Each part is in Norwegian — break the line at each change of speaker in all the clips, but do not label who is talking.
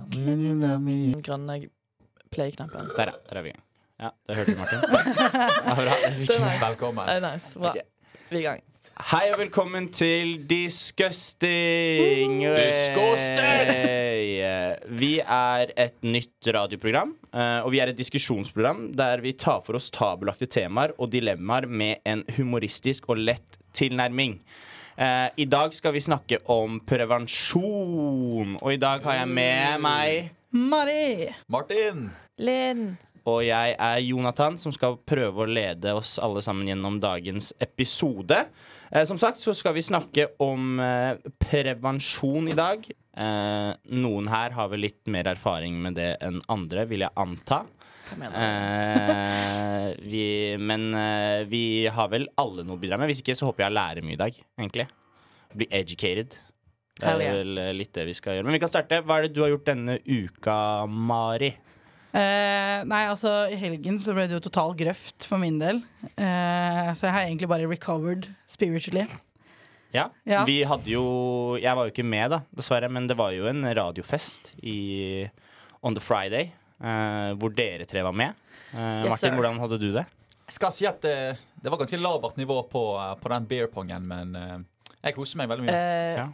Can you love me?
grønne play-knappen.
Der, ja. Der er vi i gang. Ja, det hørte du, Martin. Ja, bra. Vi
Den er-
Velkommen.
Eh, nice. Bra.
Ok.
Vi er i gang.
Hei og velkommen til Disgusting.
Disgusting!
Hey. Vi er et nytt radioprogram, eh, og vi er et diskusjonsprogram der vi tar for oss tabelagte temaer og dilemmaer med en humoristisk og lett tilnærming. Eh, I dag skal vi snakke om prevensjon, og i dag har jeg med meg
Mari!
Martin!
Linn!
Og jeg er Jonathan, som skal prøve å lede oss alle sammen gjennom dagens episode. Eh, som sagt så skal vi snakke om eh, prevensjon i dag. Eh, noen her har vel litt mer erfaring med det enn andre, vil jeg anta.
Hva mener du?
Eh, vi, men eh, vi har vel alle noe å bidra med. Hvis ikke så håper jeg jeg lærer mye i dag, egentlig. Bli educated. Det
Hell
er
yeah.
vel eh, litt det vi skal gjøre. Men vi kan starte. Hva er det du har gjort denne uka, Mari?
Eh, nei, altså I helgen så ble det jo total grøft for min del. Eh, så jeg har egentlig bare recovered spiritually.
Ja.
Ja.
Vi hadde jo Jeg var jo ikke med, da, dessverre, men det var jo en radiofest i On the Friday. eh, hvor dere tre var med. Eh,
Yes,
Martin,
sir.
hvordan hadde du det?
Jeg skal si at det, det var ganske lavert nivå på, eh, på den beer pongen, men eh, jeg koser meg veldig mye.
Eh,
Ja.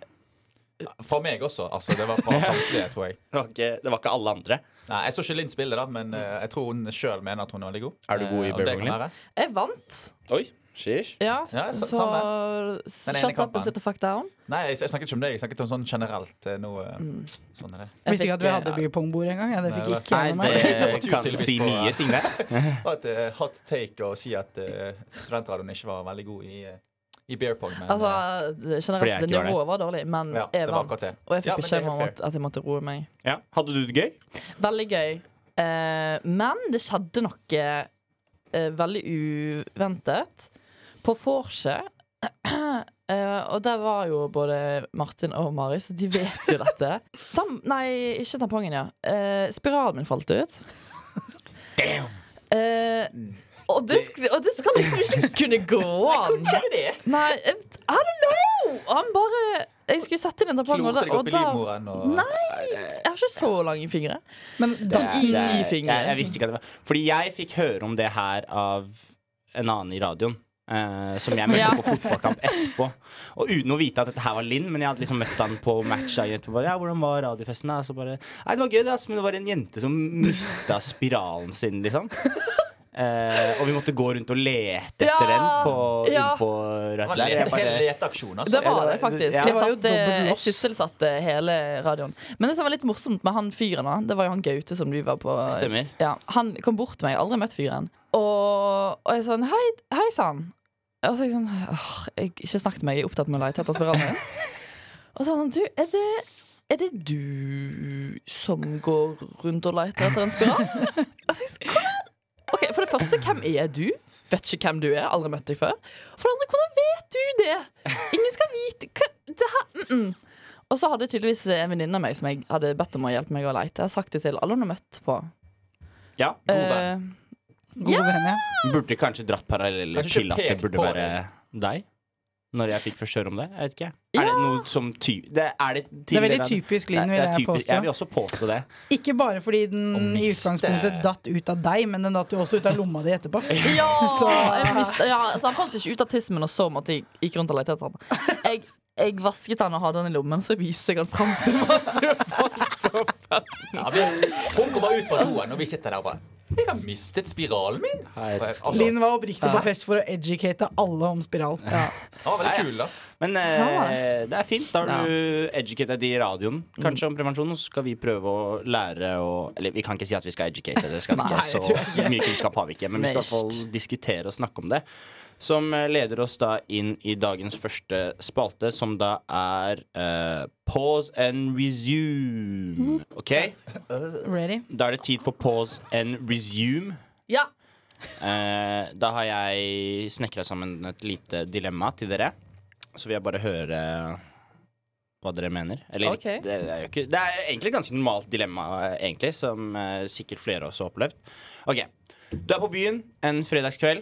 Fra meg også. altså Det var fra samtlige, tror jeg.
Det var ikke, det var ikke alle andre.
Nei, Jeg så ikke Linn spille, da, men eh, jeg tror hun sjøl mener at hun er veldig god.
Er du god i
Eh, og det
beer
kan
pongen?
være.
jeg vant.
Oi, sheesh.
Ja,
Ja, sa-
så
samme. Den ene
shut up
kampen.
and sit the fuck down.
Nei, jeg, jeg snakket ikke om deg. Jeg snakket om sånn generelt. eh, Nå,
Mm.
eh, sånn er det.
Jeg
Visste ikke at
fikk,
vi
eh,
hadde beer pong-bord engang. Ja, det fikk
Nei,
ikke
Nei,
jeg med meg.
det
Det var
kan
tydeligvis
si
på-
mye ting, det.
Det var et eh, hot take å si at eh, studentradioen ikke var veldig god i, eh, i beer pong. Men,
Altså,
eh,
det-
Fordi jeg
generelt,
ikke var
nivået var dårlig, men
Ja,
jeg
det var
vant.
akkurat det.
Og jeg
Ja,
fikk
men
beskjed
det er
om
fair.
at at jeg måtte roe meg.
Ja. Hadde du det gøy?
Veldig gøy. Eh, men det skjedde noe eh, veldig uventet. På vorset. Eh, og der var jo både Martin og Mari, så de vet jo dette. Tam nei, ikke tampongen, ja. Eh, spiralen min falt ut. Eh, og, det, sk- og det skal liksom ikke kunne gå an. Nei, eh, I don't know! Han bare Jeg skulle sette inn en tampong, og
Klorte
da,
deg
og
opp i
da
livmoren og
Jeg har ikke så lange fingre.
Men da,
Sånn i ti fingre.
Jeg, jeg visste ikke at det var Fordi jeg fikk høre om det her av en annen i radioen. eh, som jeg møtte
Ja.
på fotballkamp etterpå. Og uten å vite at dette her var Linn, men jeg hadde liksom møtt han på matcha etterpå. Bare, Ja, hvordan var radiofesten da? Så bare, Nei, det var gøy, det, ass, men det var en jente som mista spiralen sin, liksom. Eh, og vi måtte gå rundt og lete etter
Ja.
den på,
Ja.
inn på
Det
radioen.
var en
Jeg
lete-
bare-
hel leteaksjon, altså.
Det var
det
det,
var-
faktisk.
ja.
Jeg,
Det var jo
satte,
dobbelt
jeg
loss.
sysselsatte hele radioen. Men det som var litt morsomt med han fyren, da, det var jo han Gaute som du var på
Stemmer.
Ja, Han kom bort til meg, jeg har aldri møtt fyren. Og, og jeg sånn Hei, hei sann. Og så er jeg sånn Åh, jeg har ikke snakket med meg, jeg er opptatt med å lete etter spiralen min. Og så var han sånn Du, er det er det du som går rundt og leter etter en spiral? Og så er jeg sånn, «Hvordan?» Ok, For det første, hvem er du? Vet ikke hvem du er, aldri møtt deg før. For det andre, hvordan vet du det? Ingen skal vite hva, det her, mm -mm. Og så hadde tydeligvis en venninne av meg som jeg hadde bedt om å hjelpe meg å leite. Jeg har sagt det til alle hun har møtt på.
ja.
God venn.
Eh,
god venn, ja.
Burde kanskje dratt paralleller
Kanskje ikke
til at det
pekt
burde
på
være deg. Når jeg fikk først høre om det. Jeg vet ikke. Er det noe som ty... Det er, det
Det er veldig typisk Linn, vil jeg påstå.
Jeg vil også påstå det.
Ikke bare fordi
Å
den i
miste-
utgangspunktet datt ut av deg, men den datt jo også ut av lomma di etterpå.
Eh, ja,
Så-
jeg mistet, ja, så han falt ikke ut av tissen og så måtte jeg gikk rundt og lette etter han. Jeg, jeg vasket han og hadde han i lommen, så viste jeg han fram til masse folk. på festen.
Ja, vi, hun kommer ut fra doen, og vi sitter der og bare Jeg har mistet spiralen min! Altså,
Linn var oppriktig på fest for å educate alle om spiral.
han var veldig kul, da.
Men
Ja.
eh, det er fint. Da har du educated de i radioen kanskje om prevensjon. Og så skal vi prøve å lære å Eller vi kan ikke si at vi skal educate. Det skal vi
Nei,
ikke så mye kunnskap har vi ikke. Men vi skal i hvert fall diskutere og snakke om det. Som eh, leder oss da inn i dagens første spalte, som da er eh, pause and resume. OK?
Ready?
Da er det tid for pause and resume.
Ja.
Eh, da har jeg snekra sammen et lite dilemma til dere. Så vil jeg bare høre hva dere mener. Eller
Ok.
det, er jo ikke, det er egentlig et ganske normalt dilemma, eh, egentlig, som eh, sikkert flere også har opplevd. Ok, Du er på byen en fredagskveld.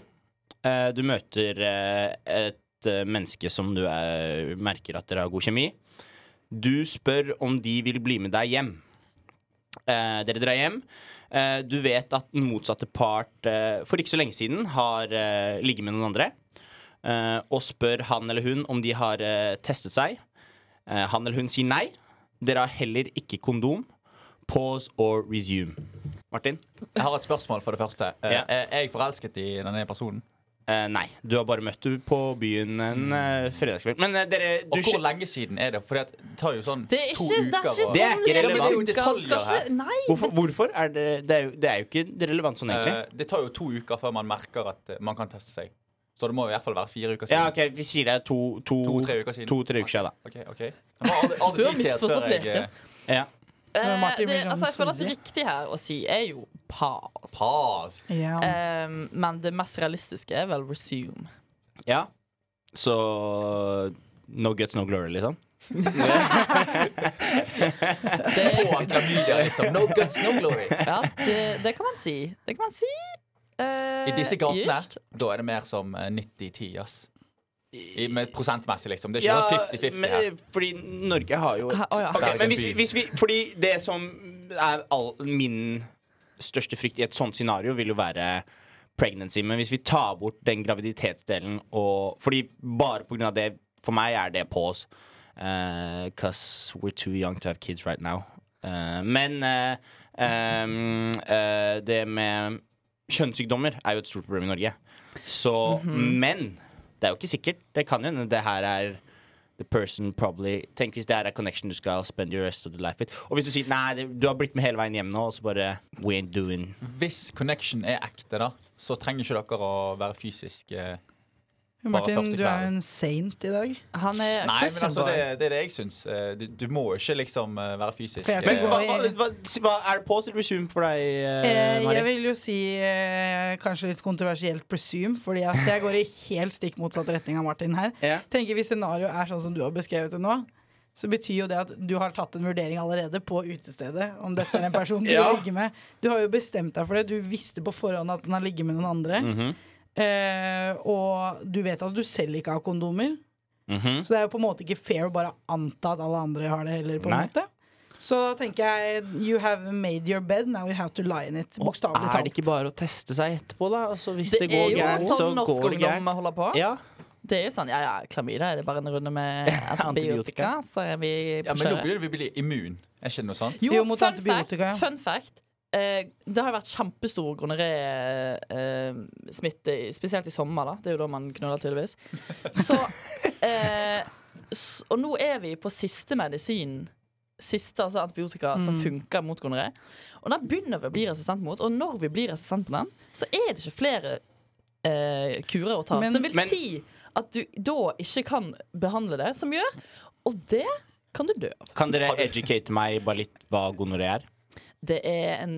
Eh, du møter eh, et eh, menneske som du eh, er, merker at dere har god kjemi. Du spør om de vil bli med deg hjem. Eh, dere drar hjem. Eh, du vet at den motsatte part eh, for ikke så lenge siden har eh, ligget med noen andre. eh, og spør han eller hun om de har eh, testet seg. Eh, han eller hun sier nei. Dere har heller ikke kondom. Pause or resume. Martin?
Jeg har et spørsmål, for det første. Eh,
Ja.
Er jeg forelsket i denne personen?
Eh, nei. Du har bare møtt henne på byen en eh, fredagskveld. Men eh, dere
Og
du,
hvor
skil-
lenge siden er det? For det tar jo sånn
Det er ikke,
to
det er
uker.
ikke
å-
sånn
Det er ikke
regler
relevant.
Det er
med
jo
uker. Du skal
detaljer
ikke, nei,
Hvorfor, hvorfor er det det er, jo, det er jo ikke relevant sånn, egentlig.
Eh, det tar jo to uker før man merker at eh, man kan teste seg. Så det må i hvert fall være fire uker
ja,
siden.
OK, vi sier det er to- to-
To-tre uker siden.
to-tre uker siden, da.
Ok, ok. Jeg må aldri- aldri
Du har
dit til
misforstått
før jeg, eh,
leken.
Ja.
Men
Eh,
Martin
det,
vil ha
altså, jeg
den
føler at det
solide.
riktig her å si er jo pass.
Pass.
Ja.
Eh, men det mest realistiske er vel resume.
Ja. Så No guts, no glory, liksom?
Det,
På klamydia, liksom. No guts, no glory.
ja, det, det kan man si. Det kan man si. Eh,
I disse gatene,
just.
da er det mer som eh, 90-10, ass. I, med prosentmessig, liksom. Det er ikke
Ja,
sånn 50-50 her.
men, fordi Norge har jo et
Ha- å, ja.
Ok,
Bergen
Men hvis
by.
vi, hvis vi Fordi det som er all, min største frykt i et sånt scenario, vil jo være pregnancy. Men hvis vi tar bort den graviditetsdelen og Fordi bare på grunn av det For meg er det pause. Uh, Cause we're too young to have kids right now. Eh, men eh, ehm, eh, det med kjønnssykdommer er jo et stort problem i Norge. Så,
Mhm.
men det er jo ikke sikkert. Det kan jo hende det her er the person probably Tenk hvis det her er connection du skal spend your rest of the life with. Og hvis du sier nei, det, du har blitt med hele veien hjem nå, og så bare We ain't doing
Hvis connection er ekte, da, så trenger ikke dere å være fysisk eh,
Martin,
første
du er
kvelden.
jo en saint i dag.
Han er
Nei, men
Christian
altså, det,
boy.
det er det jeg syns. Eh, Du, du må ikke liksom eh, være fysisk.
For jeg skal
Men
eh,
hva, hva, hva, hva er det pause eller resume for deg, eh,
Eh, jeg
Mari?
vil jo si eh, kanskje litt kontroversielt presume, fordi at jeg går i helt stikk motsatt retning av Martin her.
Ja.
Tenker Hvis scenarioet er sånn som du har beskrevet det nå, så betyr jo det at du har tatt en vurdering allerede på utestedet om dette er en person du
Ja.
vil ligge med. Du har jo bestemt deg for det. Du visste på forhånd at den har ligget med noen andre.
Mhm.
eh, og du vet at du selv ikke har kondomer.
Mhm.
Så det er jo på en måte ikke fair å bare anta at alle andre har det heller. på en
Nei.
måte Så da tenker jeg You have made your bed, now you have to lie in it. Bokstavelig
Er det
talt.
ikke bare å teste seg etterpå, da? Altså, hvis det,
Det
går
er jo
gærent, så
sånn norsk
går det
ungdom
gærent.
holder på.
Ja.
Det er jo sånn, ja ja, klamydia er det bare en runde med antibiotika, så er vi
Ja,
på
men da
kjøret.
begynner vi å bli immun. Er ikke det noe sånt?
Jo, mot
fun
antibiotika, ja.
Fact, fun fact. Eh, det har jo vært kjempestor gonoré-smitte, eh, spesielt i sommer. da Det er jo da man knuller, tydeligvis. Så, eh, s og nå er vi på siste medisin. Siste altså antibiotika som
Mm.
funker mot gonoré. Og den begynner vi å bli resistent mot. Og når vi blir resistent på den, så er det ikke flere eh, kurer å ta.
Men-
som vil
Men-
si at du da ikke kan behandle det, som gjør Og det kan du dø av.
Kan dere educate meg bare litt hva gonoré er?
Det er en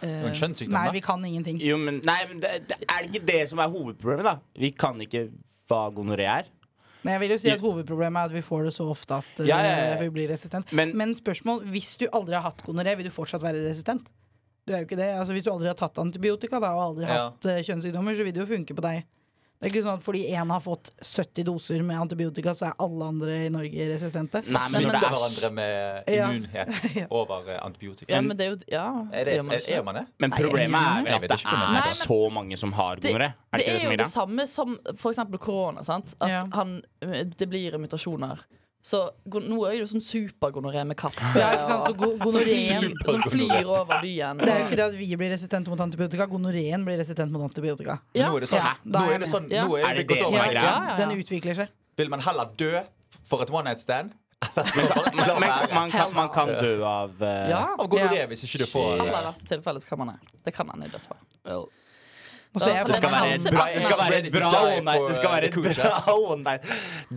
eh,
Det er jo en kjønnssykdom,
Nei,
da.
vi kan ingenting.
Jo, men, nei, men det, det, er det ikke det som er hovedproblemet, da? Vi kan ikke hva gonoré er.
Nei, jeg vil jo si at Hovedproblemet er at vi får det så ofte at eh,
Ja, ja, ja.
vi blir resistent. Men,
Men-
spørsmål hvis du aldri har hatt gonoré, vil du fortsatt være resistent? Du er jo ikke det. Altså, hvis du aldri har tatt antibiotika da, og aldri
Ja.
hatt eh, kjønnssykdommer, så vil det jo funke på deg. Det er ikke sånn at fordi én har fått 70 doser med antibiotika, så er alle andre i Norge resistente.
Nei, men
Vi
men
når
bytter
det er
hverandre med
Ja.
immunhet over eh, antibiotika.
Ja, men det er jo Ja.
Er, det,
gjør man
er,
ikke
er man det?
Men
Nei,
problemet er
jeg
vel at
vet
det
ikke om det
er
er
det.
så mange som har
det,
gonoré. Er
det
det ikke det
er
som
jo
er
det
greia?
samme som f.eks. korona. sant? At
Ja.
han, det blir mutasjoner. Så go- nå er det jo sånn supergonoré med katter
Ja, ikke sant? Så
og-
go-
som,
gonoréen
flyr, som flyr over byen.
Det er jo ikke det at vi blir resistente mot antibiotika. Gonoréen blir resistent mot antibiotika.
Ja.
Nå er det sånn.
Ja, da
nå
er jeg
er det,
med.
sånn,
Ja.
nå
Er
er det
det
gått
det som
over
er
en
greia?
grense.
ja, ja.
Den utvikler seg.
Vil man heller dø for et one night stand?
Men man, man, kan, man kan dø av eh,
Ja.
Av gonoré,
Ja.
hvis ikke du får
Aller verste tilfelle så kan man det. Det kan han i dødsfall.
well,
Og så er jeg
Det
Det skal
er
være
hans
et bra, det skal
plan.
være et bra
Ready to die
one night.
for,
Det skal
uh,
være
the cool
et bra one night.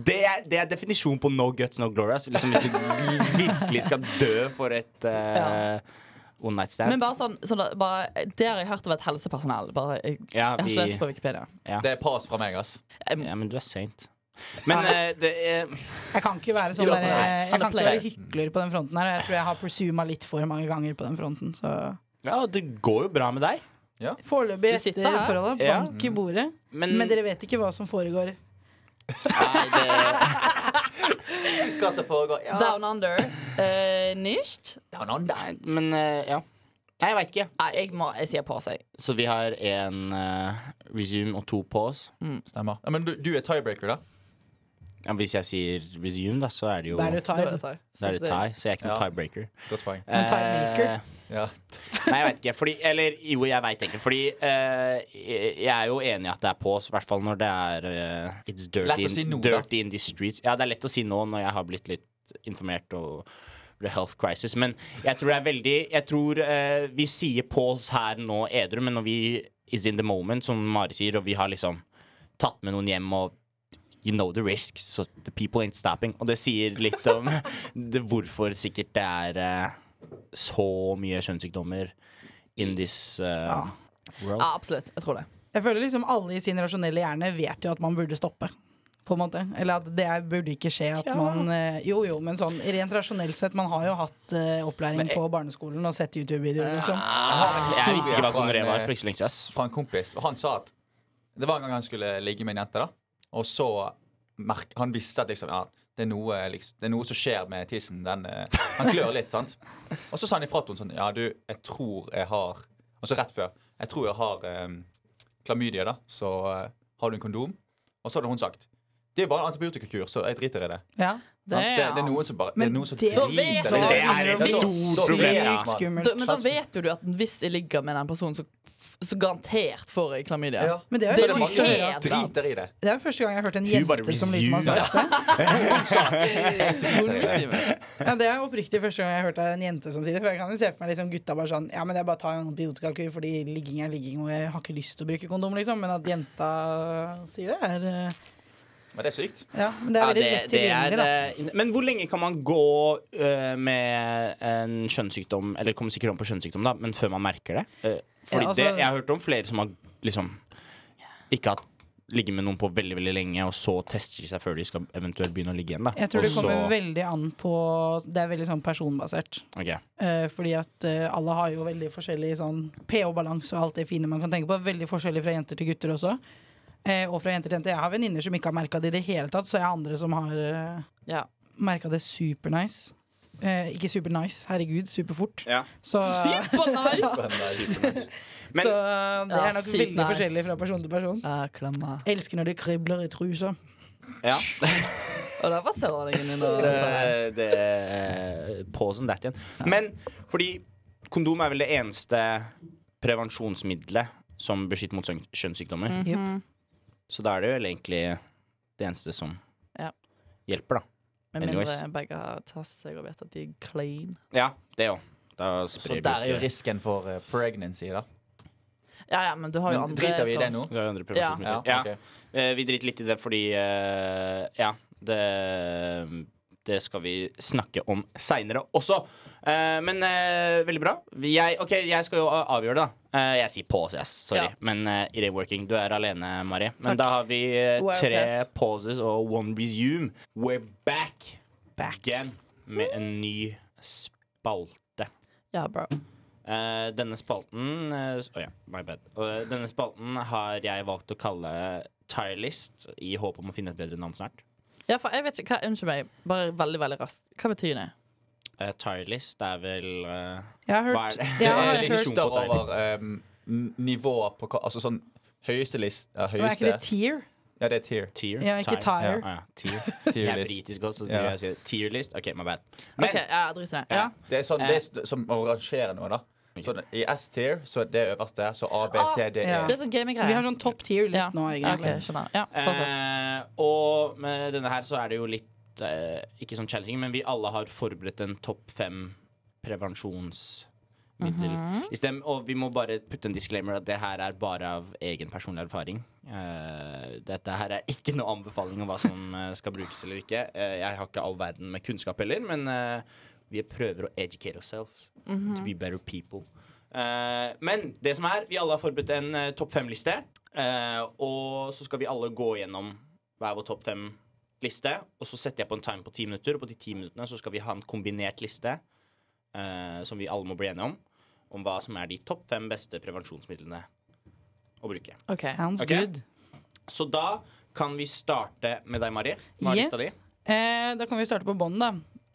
Det er, det er definisjonen på no guts, no glory. ass. Liksom hvis du virkelig skal dø for et eh, one night stand.
Men bare sånn, sånn da, bare, Det har jeg hørt av et helsepersonell. Bare, jeg, jeg
ja,
har
vi,
ikke lest på Wikipedia.
Det er pass fra meg, ass.
Jeg,
ja, men du er saint. Men eh, det er
Jeg kan ikke være sånn
Ja,
der,
for
jeg,
nei.
jeg kan ikke
Alle
være hykler på den fronten her. og Jeg tror jeg har presuma litt for mange ganger på den fronten. Så
Ja, det går jo bra med deg.
foreløpig
Du sitter
etter
her.
forholdet.
Ja.
Bank i bordet.
Men,
Men dere vet ikke hva som foregår.
Nei, det,
Hva som foregår. Ja.
Down Under. Uh, Nicht.
Down under.
Nei, men eh, ja. Nei, jeg veit ikke.
Nei, jeg, må, jeg sier på seg.
Så vi har én resume og to pause.
Stemmer. Ja, men du, du er tiebreaker, da?
Ja, hvis jeg sier resume, da, så er det jo
Da er det
Da er
tied.
det tie.
da er det tie, så jeg er ikke noen
Ja.
tiebreaker.
Godt poeng.
Men tiebreaker?
Eh,
Ja.
Nei, jeg vet ikke. Fordi, eller jo, jeg veit ikke. Fordi eh, jeg er jo enig i at det er på, i hvert fall når det er eh, It's
Lett
dirty,
å si
in,
nå, da.
dirty in the streets. Ja, det er lett å si nå når jeg har blitt litt informert og the health crisis. Men jeg tror det er veldig Jeg tror eh, vi sier pause her nå edru, men når vi is in the moment, som Mari sier, og vi har liksom tatt med noen hjem og You know the risk, so the people ain't stopping. Og det sier litt om det, hvorfor sikkert det er eh, så mye kjønnssykdommer in this uh, world.
Ja, absolutt. Jeg tror det.
Jeg føler liksom alle i sin rasjonelle hjerne vet jo at man burde stoppe. På en måte. Eller at det er- burde ikke skje at man eh, Jo jo, men sånn rent rasjonelt sett, man har jo hatt eh, opplæring på barneskolen og sett YouTube-videoer, liksom.
Jeg visste ikke hva
Fra en,
gonoré var
eh,
for ikke så lenge siden. ass.
Fra en kompis. Og han sa at det var en gang han skulle ligge med en jente, da. Og så merk, Han visste at liksom, ja, det, er noe, liksom, det er noe som skjer med tissen. Den, eh, han klør litt, sant. Og så sa han ifra til henne sånn Ja, du, jeg tror jeg har Og så rett før. Jeg tror jeg har em, klamydia, da. Så eh, har du en kondom? Og så hadde hun sagt det er bare en antibiotikakur, så jeg driter i det.
Ja.
Det, altså, det, det er noen som bare Det er
Men
noen som
det-
driter i det.
Da vet du
Det
at
er
det
et
er
stort problem.
problem, ja.
Sykt skummelt.
Da, men da vet jo du at hvis jeg ligger med den personen, så, f- så garantert får jeg klamydia.
Ja.
Men det er
Så
jo
det er mange
sykt å
som
høre.
at-
driter i det.
Det er første gang jeg har hørt en
Hun bare
jente som liksom har
resume.
sagt det.
Hodemuslimer.
Ja, det er oppriktig første gang jeg har hørt av en jente som sier det. For jeg kan jo se for meg liksom gutta bare sånn Ja, men jeg bare tar en antibiotikakur fordi ligging er ligging, og jeg har ikke lyst til å bruke kondom, liksom. Men at jenta sier det, er eh,
Men det er sykt.
Ja, men det er
Ja,
veldig
det-
lett
det er,
tilgjengelig, da.
eh, in- Men hvor lenge kan man gå eh, med en kjønnssykdom, eller kommer sikkert om på kjønnssykdom, da, men før man merker det? Eh, fordi
Ja, altså-
det, jeg har hørt om flere som har liksom ikke hatt ligget med noen på veldig veldig lenge, og så tester de seg før de skal eventuelt begynne å ligge igjen. da
Jeg tror
Og
det kommer
så-
veldig an på Det er veldig sånn personbasert.
ok.
Eh, fordi at eh, alle har jo veldig forskjellig sånn pH-balanse og alt det fine man kan tenke på. Veldig forskjellig fra jenter til gutter også. Eh, og fra jenter til jenter. Jeg har venninner som ikke har merka det i det hele tatt, så jeg har andre som har uh,
Ja.
merka det supernice. Eh, ikke supernice, herregud, superfort.
Ja.
Så, eh,
Supernice!
Men-
så eh, det
Ja,
er nok
sykt
veldig
nice.
forskjellig fra person til person.
Ah,
Elsker når det kribler i trusa.
ja.
Og der var sørlendingen din. og
sånn
sa det.
det, det På som that igjen. Men fordi kondom er vel det eneste prevensjonsmiddelet som beskytter mot søgn- kjønnssykdommer.
Mm.
Mhm.
Så da er det vel egentlig det eneste som
Ja.
hjelper, da.
Med mindre
Anyways.
begge har testet seg og vet at de er clean.
Ja, det òg. Da
Så
sprer
der er jo
ikke-
risken for eh, pregnancy, da.
Ja, ja, men du har jo
Men
andre
driter vi i det
plan.
nå?
Vi har jo andre prevensjonsmidler. Ja,
Ja, ok.
Eh, Vi driter litt i det fordi eh, Ja, det det skal vi snakke om seinere også. Eh, men eh, veldig bra. Jeg, ok, jeg skal jo avgjøre det, da. Eh, jeg sier pause, yes. Sorry.
Ja.
Men eh, it ain't working. Du er alene, Mari. Men da har vi eh,
Wow,
tre
fett.
pauses og one resume. We're back again med en ny spalte.
Ja, bro.
Eh, denne spalten eh, s- Å ja, my bad. Eh, denne spalten har jeg valgt å kalle Tirelist, i håp om å finne et bedre navn snart.
Ja, for jeg vet ikke, hva, Unnskyld meg, bare veldig veldig raskt. Hva betyr det?
Eh, Tirelist er vel eh,
Jeg har
Hva er
hørt,
det?
jeg
Det
har
er
jeg
hørt
liksom-
lister
hørt-
over em, n- nivået på hva- Altså sånn høyeste list ja,
Men er
høyeste,
ikke det tier?
Ja, det er tier.
Tier?
Ja, ikke
Ja,
tire.
ja, tier.
tier
Jeg er
list.
britisk også, så
Ja.
jeg sier tierlist. OK, my bad. Men
Ok, ja, drit i det. Ja.
Ja.
Det er sånn det er s- som å rangere noe, da. Så det- I S-tier så er det øverste, så A, B, C, D, E.
Ah, ja.
Det er sånn
Så vi
gaminggreier.
har sånn topp tier-list nå,
Ja,
egentlig.
ok, skjønner. Ja, fortsett.
eh, og med denne her så er det jo litt eh, Ikke sånn challenging, men vi alle har forberedt en topp fem prevensjonsmiddel. I stedet- og vi må bare putte en disclaimer at det her er bare av egen personlig erfaring. Eh, dette her er ikke noe anbefaling om hva som eh, skal brukes eller ikke. Eh, jeg har ikke all verden med kunnskap heller, men eh, vi prøver å educate ourselves to be better people. Eh, men det som er, vi alle har forberedt en eh, topp fem-liste. eh, og så skal vi alle gå gjennom hver vår topp fem-liste. Og så setter jeg på en time på ti minutter, og på de ti minuttene så skal vi ha en kombinert liste eh, som vi alle må bli enige om, om hva som er de topp fem beste prevensjonsmidlene å bruke.
Ok.
Sounds
Ok.
good.
Så da kan vi starte med deg, Mari. Hva er
Yes.
lista di?
Eh, da kan vi starte på bånn, da.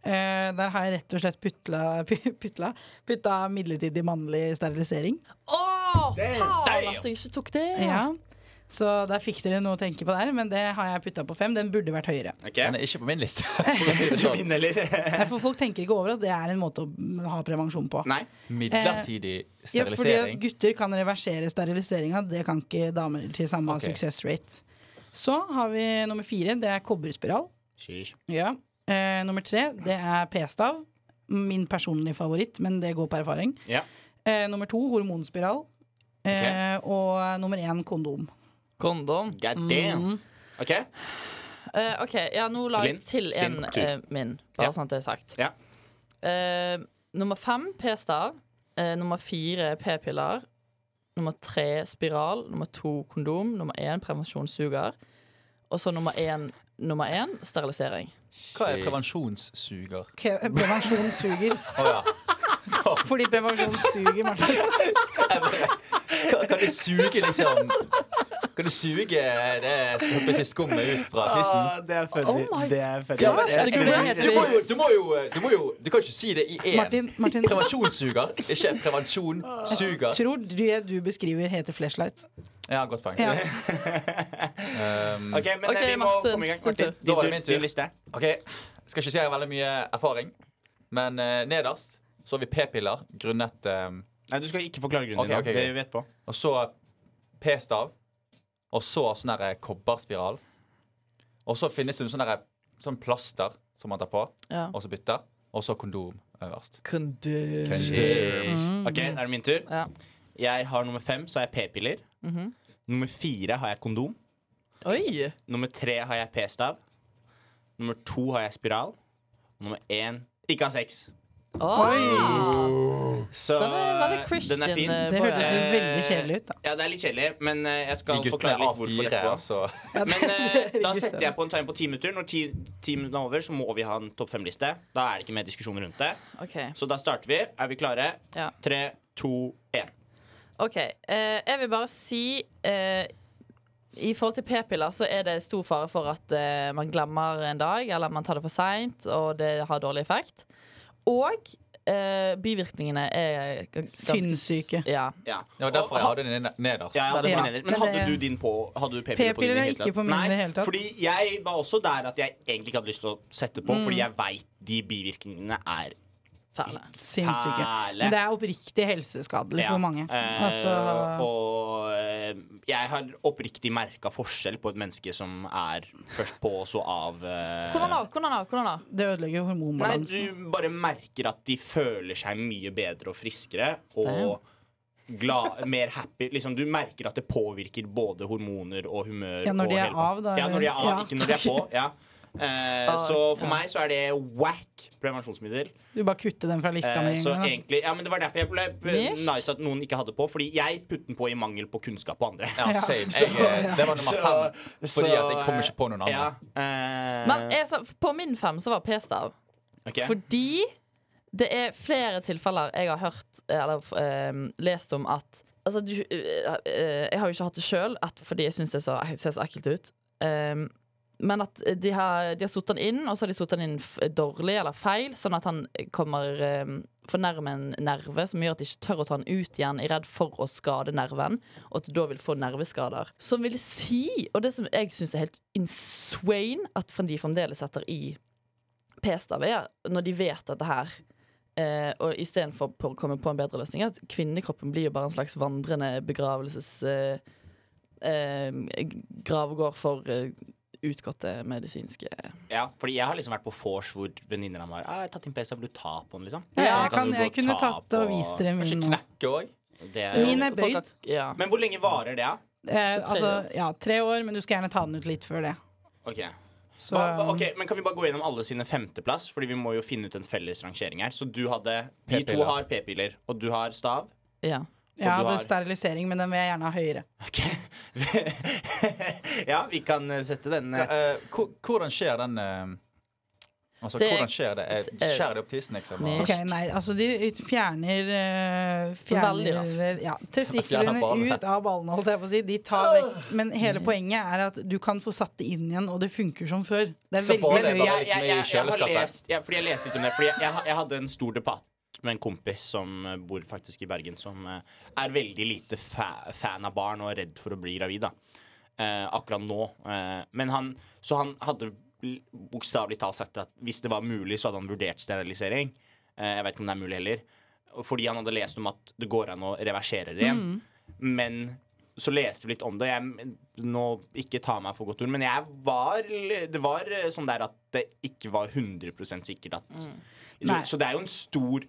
Eh, der har jeg rett og slett putla, putla, putta midlertidig mannlig sterilisering.
Åh, faen at jeg ikke tok det!
Ja. Så der fikk dere noe å tenke på der, men det har jeg putta på fem. Den burde vært høyere.
Den er ikke på min liste. for å si det sånn.
Nei, For folk tenker ikke over at det er en måte å ha prevensjon på.
Nei.
Midlertidig
Eh, Ja, fordi at
sterilisering.
gutter kan reversere steriliseringa. Det kan ikke damer til samme
Ok.
success rate. Så har vi nummer fire. Det er kobberspiral.
Sheesh.
Ja. Eh, nummer tre, det er p-stav. Min personlige favoritt, men det går på erfaring.
Ja.
Eh, nummer to, hormonspiral. Eh, Og nummer én, kondom.
Kondom.
God damn. OK?
Eh, OK, ja, nå la jeg
Linn,
til en
sin tur.
eh, min, bare
Ja.
sånn at det er sagt.
Ja.
Eh, nummer fem p-stav. Eh, nummer fire p-piller. Nummer tre spiral. Nummer to kondom. Nummer én prevensjonssuger. Og så nummer én, nummer én sterilisering.
Hva er prevensjonssuger?
Ke- eh, Prevensjon suger.
Å ja.
Fordi prevensjon suger, Martin.
Kan kan du suge, liksom Kan du suge det jeg holdt på å si, skummet ut fra
Ah.
tissen?
det er funny.
Oh my
det er funny.
Ja, men,
det
du, må
kunne hete-
jo, du, må jo, du må jo Du kan ikke si det i én.
Martin, Martin
Prevensjonssuger. Ikke prevensjonssuger.
tror det du beskriver, heter flashlight.
Ja, godt poeng.
Ja.
Um,
OK, men
Ok,
eh, vi må
Martin,
komme i gang.
din
Martin,
tur.
din
Da var det
tur,
min tur.
Din liste.
OK, skal ikke si jeg har veldig mye erfaring, men eh, nederst så har vi p-piller grunnet eh,
Nei, du skal ikke forklare grunnen
Ok,
i dag.
ok,
Det
ok.
vi vet på.
Og så p-stav. Og så sånn der kobberspiral. Og så finnes det noe sånn der sånn plaster som man tar på,
Ja.
og så bytter. Og så kondom øverst.
Kondom.
Sheesh. OK, da er det min tur.
Mm. Ja. Mm-hmm.
Jeg har nummer fem, så har jeg p-piller. Nummer fire har jeg kondom.
Oi!
Nummer tre har jeg p-stav. Nummer to har jeg spiral. Nummer én ikke har sex.
Ah! Oi.
Så
Den er veldig Christian.
Den er fin.
eh,
Det
på-
hørtes jo veldig kjedelig ut, da.
Ja, det er litt kjedelig, men eh, jeg
De
skal
guttene
forklare
er
litt hvorfor
A4,
etterpå.
altså.
Men eh, da
guttene.
setter jeg på en time på ti minutter. Når ti, ti minutter er over, så må vi ha en topp fem-liste. Da er det ikke mer diskusjon rundt det.
OK.
Så da starter vi. Er vi klare?
Ja.
Tre, to, én.
Ok, eh, jeg vil bare si eh, I forhold til p-piller så er det stor fare for at eh, man glemmer en dag, eller man tar det for seint, og det har dårlig effekt. Og eh, bivirkningene er g- ganske
Sinnssyke.
Ja.
Ja.
Det var derfor jeg hadde den ned- nederst.
Ja, jeg hadde
Ja.
den nederst. Men
Men
hadde
det-
du din på Hadde du p-piller på din?
P-piller
i det
er
hele
ikke på
tatt?
min i det
Nei,
hele tatt.
Fordi jeg var også der at jeg egentlig ikke hadde lyst til å sette på, fordi jeg veit de bivirkningene er
Fæle.
Sinnssyke.
Fæle.
Men det er oppriktig helseskadelig
Ja.
for mange.
Eh,
Altså,
og eh, jeg har oppriktig merka forskjell på et menneske som er først på og så av. eh,
Hvordan da? Hvordan da? Hvordan da?
det ødelegger jo
Nei,
hormonbalansen.
du bare merker at de føler seg mye bedre og friskere.
Damn.
Og glad, mer happy. Liksom, du merker at det påvirker både hormoner og humør.
Ja, når
og
de er
hele pakka.
av, da,
Ja, når de er av,
eller? Ja.
ikke når de er på. Ja. Eh,
Ah,
så for
ja.
meg så er det whack prevensjonsmiddel.
Du bare kutter den fra lista
Eh,
med
så
en gang.
egentlig, ja, men Det var derfor jeg ble
Mist.
nice at noen ikke hadde på, Fordi jeg putter den på i mangel på kunnskap på andre.
Ja, same. Jeg, eh, det var nummer fem. Fordi at jeg kom ikke på noen andre.
eh,
Men jeg, sa- på min fem så var p-stav.
eh,
Fordi det er flere tilfeller jeg har hørt eh, Eller eh, lest om at Altså, du, eh, eh, jeg har jo ikke hatt det sjøl fordi jeg syns det er så- jeg ser så ekkelt ut. Eh, men at de har, de har satt den inn, og så har de satt den inn f dårlig eller feil, sånn at han kommer eh, for nærme en nerve som gjør at de ikke tør å ta den ut igjen, er redd for å skade nerven, og at du da vil få nerveskader. Som vil si, og det som jeg syns er helt insane, at de fremdeles setter i p-stav, er når de vet dette her. Eh, og istedenfor på å komme på en bedre løsning. At kvinnekroppen blir jo bare en slags vandrende begravelses... Eh, eh, gravgård for eh, utgåtte medisinske
Ja, fordi jeg har liksom vært på vors hvor venninner av meg har ah, jeg har tatt inn PC, vil du ta på den, liksom?
Ja,
Sånn
jeg, kan,
du gå
jeg kunne
ta
tatt og
på-
vist dere
Kanskje
min nå.
knekke òg.
Det er-
Min er
Folk har-
bøyd.
Ja.
Men hvor lenge varer det, da?
Så
Eh,
tre
altså,
år.
ja, tre år, men du skal gjerne ta den ut litt før det.
Ok.
Så,
Hva- hva- ok, men Kan vi bare gå gjennom alle sine femteplass? Fordi vi må jo finne ut en felles rangering her. Så du hadde Vi to
P-piller.
har p-piller, og du har stav.
ja.
jeg
og du
hadde
har-
sterilisering, men den vil jeg gjerne ha høyere.
Ok Ja, vi kan eh, sette den eh,
Hvordan skjer den eh, Altså,
Det-
Hvordan skjer det? Jeg
det-
Skjærer det opp tissen, liksom? Og,
Nei.
Ok, nei, altså de fjerner, eh,
Veldig raskt.
fjerner ja, testiklene
Fjerner ballene.
ut av ballene, holdt jeg på å si. De tar vekk. Men hele poenget er at du kan få satt det inn igjen, og det funker som før. Det er
Så
veldig
bare det er
mye.
bare-
jeg,
liksom
jeg,
i
jeg, jeg har
kjøleskapet.
lest jeg, Fordi jeg leste litt om det. Fordi jeg, jeg, ha- jeg hadde en stor debatt med en kompis som eh, bor faktisk i Bergen, som eh, er veldig lite fa fan av barn og er redd for å bli gravid. da Eh, akkurat nå. Eh, men han Så han hadde l- bokstavelig talt sagt at hvis det var mulig, så hadde han vurdert sterilisering. Eh, jeg vet ikke om det er mulig heller. Fordi han hadde lest om at det går an å reversere det igjen. Men så leste vi litt om det. Jeg, nå, ikke ta meg for godt ord, men jeg var, det var eh, sånn der at det ikke var 100 sikkert at
Mm.
så,
Nei.
så det er jo en stor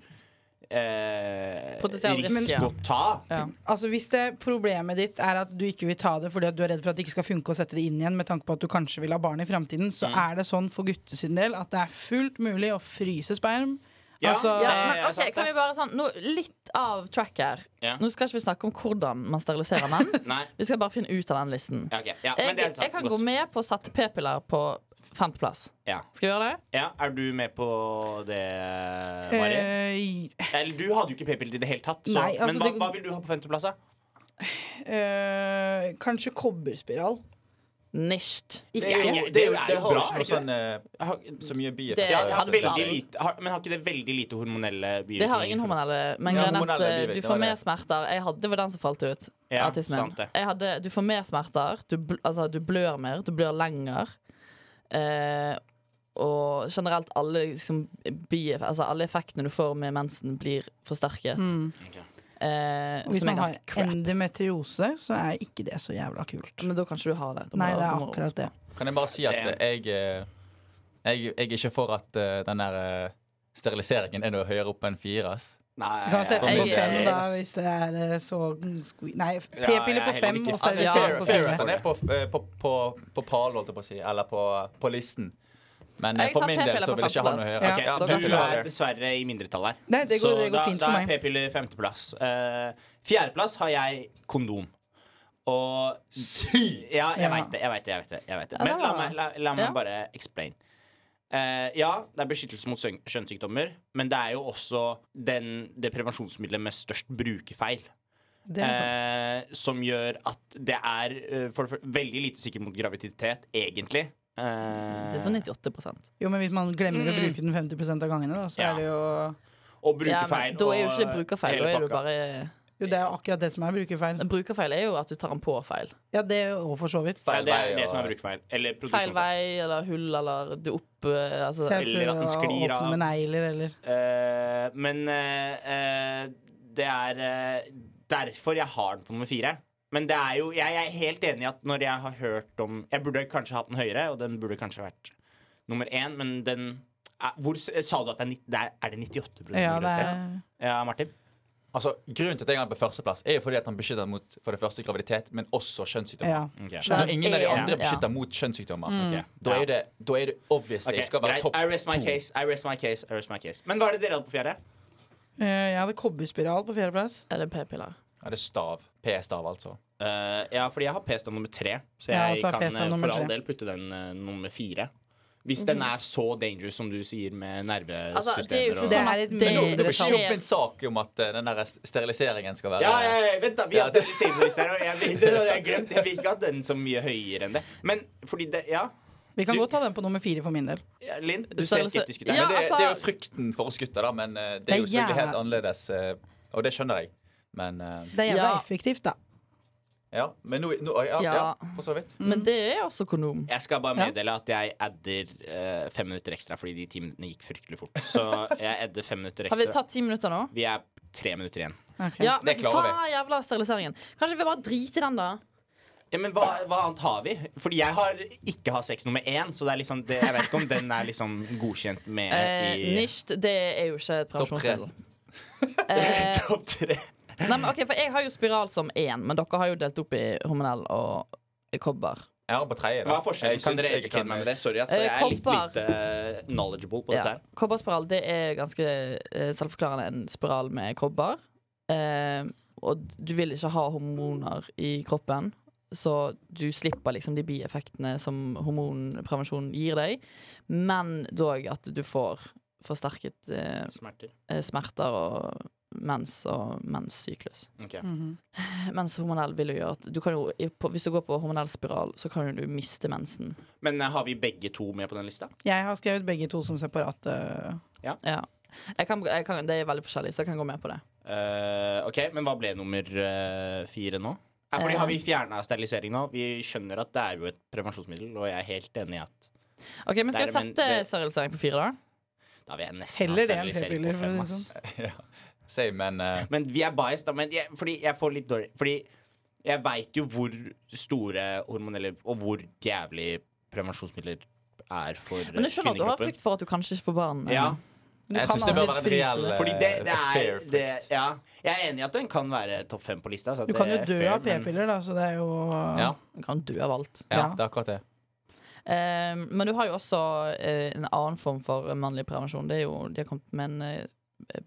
eh,
Potensiell risk,
risk
ja.
å ta.
Ja.
Altså Hvis det problemet ditt er at du ikke vil ta det fordi at du er redd for at det ikke skal funke å sette det inn igjen, med tanke på at du kanskje vil ha barn i framtiden, så
Mm.
er det sånn for gutter sin del at det er fullt mulig å fryse sperm.
Ja.
Altså,
Ja,
Ja, ja,
men
ja,
ok,
sant det.
kan vi bare sånn nå, Litt av track her.
Ja.
Nå skal ikke vi snakke om hvordan man steriliserer menn.
Nei.
Vi skal bare finne ut av den listen.
Ja, ok. ja, men
Jeg,
det er
jeg
sant.
kan
Godt.
gå med på å sette p-piller på femteplass.
Ja.
Skal vi gjøre det?
ja, Er du med på det, Mari?
Eh,
Eller du hadde jo ikke p-piller i det hele tatt. Så,
Nei,
men
altså,
hva,
det-
hva vil du ha på femteplass, da?
eh, kanskje kobberspiral.
Nisht.
Det er jo- det
Det
er
er
jo-
jo
det har jo
bra,
ikke
er
noe
det ikke
sånn eh,
Har,
så mye bieffekt.
Det
ja,
er
har,
helt
veldig
sant.
lite, har, men har ikke det veldig lite hormonelle bivirkninger?
Det har ingen hormonelle Men
Ja,
greien er at
hormonelle
eh,
bivirkninger,
du
det var
får mer
det.
smerter. Jeg hadde, det var den som falt ut.
Ja,
autismen.
sant det.
Jeg hadde, du får mer smerter. Du, bl altså, du blør mer. Du blør lenger. Eh, og generelt alle, liksom, bief altså, alle effektene du får med mensen, blir forsterket.
Ok.
Eh,
Og Mm. Hvis
som er
man har
ganske crap.
endometriose, så er ikke det så jævla kult.
Men da kan ikke du ha det. Da må
Nei,
du-
det
du
er
må-
akkurat det.
Kan jeg bare si at
Damn.
eh, jeg, eh, jeg, jeg er ikke for at eh, den der eh, steriliseringen er noe høyere opp enn fire. ass.
Nei,
Du kan sette
jeg-
på fem,
jeg-
da, hvis det er eh, så squee- Nei,
Ja,
p-piller
jeg
på
er
fem
helt ikke-
og
Altså,
Ja,
sterilisering
Fair-
på
fair
fire.
enough. Den er på, eh, på, på, på pall, holdt jeg på å si. Eller på, på listen. Men eh,
Jeg
for
sa
min del
p-piller
så
på
vil jeg ikke ha noe
femteplass.
høyere.
Ja.
Ok,
Ja,
da
du
kan ikke
er
er-
dessverre i mindretall her.
Nei, det går,
så
det går
da,
fint
da
for
er
meg.
p-piller femteplass. Eh, fjerdeplass har jeg kondom. Og Sykt! Ja, jeg
Ja.
veit det. jeg vet det, jeg vet det, jeg vet det.
Ja,
Men
det
la
var-
meg, la, la meg
Ja.
bare explain. Eh, ja, det er beskyttelse mot søgn- skjønnssykdommer, men det er jo også den, det prevensjonsmiddelet med størst brukerfeil.
Det er sant.
Eh, som gjør at det er eh, for, det første veldig lite sikkert mot graviditet, egentlig. Eh,
Det er sånn 98
Jo, men hvis man glemmer å bruke den 50 av gangene, da,
Mm.
så
Ja.
er det jo
Og
ja,
brukerfeil.
men, Da er jo
og
ikke det brukerfeil.
hele
Da er det jo
pakka.
bare
Jo, det er jo akkurat det som er brukerfeil.
Brukerfeil er jo at du tar en på-feil.
Ja, det òg, for så vidt.
Ja, det er
Feil vei
det som
og-
er brukerfeil. Eller
Feil
produksjonsfeil.
vei eller hull eller du opp eh, altså,
Så jeg
Eller at den
prøver å
sklir av.
åpne med negler, eller
Eh, men eh, eh, det er eh, derfor jeg har den på nummer fire. Men det er jo, jeg, jeg er helt enig i at når jeg har hørt om Jeg burde kanskje hatt den høyere, og den burde kanskje vært nummer én, men den er, hvor, s- Sa du at det er, nitt- det er, er det 98
Ja, det er
graviditet? Ja, Martin?
Altså, grunnen til at jeg har den på førsteplass, er jo fordi at han beskytter mot for det første graviditet, men også
Ja.
kjønnssykdommer.
Ok.
Ja.
Når ingen av de
Ja.
andre
Ja.
beskytter mot kjønnssykdommer,
Ok.
da,
Ja.
er det, da er det obviously
Mm. Ok,
skal være
greit.
topp
I rest my case, I rest my case, I rest my case. Men hva er det dere hadde på fjerde? Mm.
Eh, Jeg hadde kobberspiral på fjerdeplass.
Er det p-piller?
Ja, det er stav. P-stav, altså.
Eh, ja, fordi jeg har P-stav nummer tre, så
Ja,
jeg
også har
kan
P-stav
eh,
nummer
for all
tre.
del putte den eh, nummer fire. Hvis den er så dangerous som du sier med nervesystemer
Mhm. Altså, det er jo ikke
og
Det
sånn
er
at
et
det,
Men
Nå blir
Mindretall.
det opp en sak om at eh, den der steriliseringen skal være
ja, ja, ja, vent, da. Vi har
Ja, det-
steriliseringsminister her, og jeg, vet- det hadde jeg glemt Jeg vil ikke ha den så mye høyere enn det. Men fordi det Ja,
Vi kan
Du-
godt ta den på nummer fire for min del.
ja, Linn, du ser
Sterilis-
skeptisk ut her.
Men
Ja,
det,
altså-
det er jo frykten for oss gutter, da. Men eh, det
Det er
er jo selvfølgelig helt
jævla-
annerledes. eh, Og det skjønner jeg. Men eh,
Det er jævla
Ja.
effektivt, da.
ja, men nå, nå ja, ja.
Ja.
for så vidt.
Men det er også kondom.
Jeg skal bare meddele at jeg adder eh, fem minutter ekstra fordi de ti minuttene gikk fryktelig fort. Så jeg adder fem minutter
Har vi
ekstra.
tatt ti minutter nå?
Vi er tre minutter igjen.
Ok.
Ja, men
Det klarer vi.
faen den jævla steriliseringen. Kanskje vi bare driter i den, da?
Ja, men hva, hva annet har vi? Fordi jeg har ikke har sex nummer én, så det er liksom, det, jeg vet ikke om den er liksom godkjent med
Eh,
i
Nisht, det er jo ikke et
Topp tre.
prevensjonsmiddel. Eh,
topp tre.
nei, men ok, for jeg har jo spiral som én, men dere har jo delt opp i hormonell og kobber.
Jeg har den på tredje. da.
Hva er forskjellen?
Jeg
Kan
syns
dere
jeg
educate meg med det? Sorry, altså,
Eh,
jeg er litt
kopper.
lite eh, knowledgeable på
Ja.
dette. her
Kobberspiral det er ganske eh, selvforklarende en spiral med kobber. Eh, og du vil ikke ha hormoner i kroppen så du slipper liksom de bieffektene som hormonprevensjon gir deg, men dog at du får forsterket eh,
Smerter.
eh, smerter og mens og menssyklus.
Ok.
Mhm.
Mens hormonell vil jo gjøre at du kan jo, i- på, Hvis du går på hormonell spiral, så kan jo du miste mensen.
Men eh, har vi begge to med på den lista?
Jeg har skrevet begge to som eh. separate.
Ja. Jeg kan, jeg kan, det er veldig forskjellig, så jeg kan gå med på det.
Eh, ok, men hva ble nummer eh, fire nå? Eh, fordi
Eh.
Har vi fjerna sterilisering nå? Vi skjønner at det er jo et prevensjonsmiddel, og jeg er helt enig i at
Ok, men Skal jeg
Der, men
sette
det-
sterilisering på fire, da?
da vil jeg nesten
Heller det
ha
enn
sterilisering
p-piller,
på
for å si
fem.
det sånn.
Ass.
ja. Same, men eh,
Men vi er biased, da. Men jeg, fordi jeg får litt dårlig Fordi jeg veit jo hvor store hormonelle og hvor jævlig prevensjonsmidler er for eh,
Men jeg skjønner at du har
kvinnekroppen.
frykt for at du kanskje ikke får barn. eh.
Ja,
Du
jeg
kan
syns det bør
alltids
være en reell
fryse det.
eh,
fordi det, det
fair
er
frykt.
det, ja. Jeg er enig i at den kan være topp fem på lista. Så at
Du kan jo
det er
dø
fair,
av
men-
p-piller, da, så det er jo
Ja.
Du kan dø av alt.
ja,
Ja.
det er akkurat det.
Eh, men du har jo også eh, en annen form for mannlig prevensjon. Det er jo, De har kommet med en eh,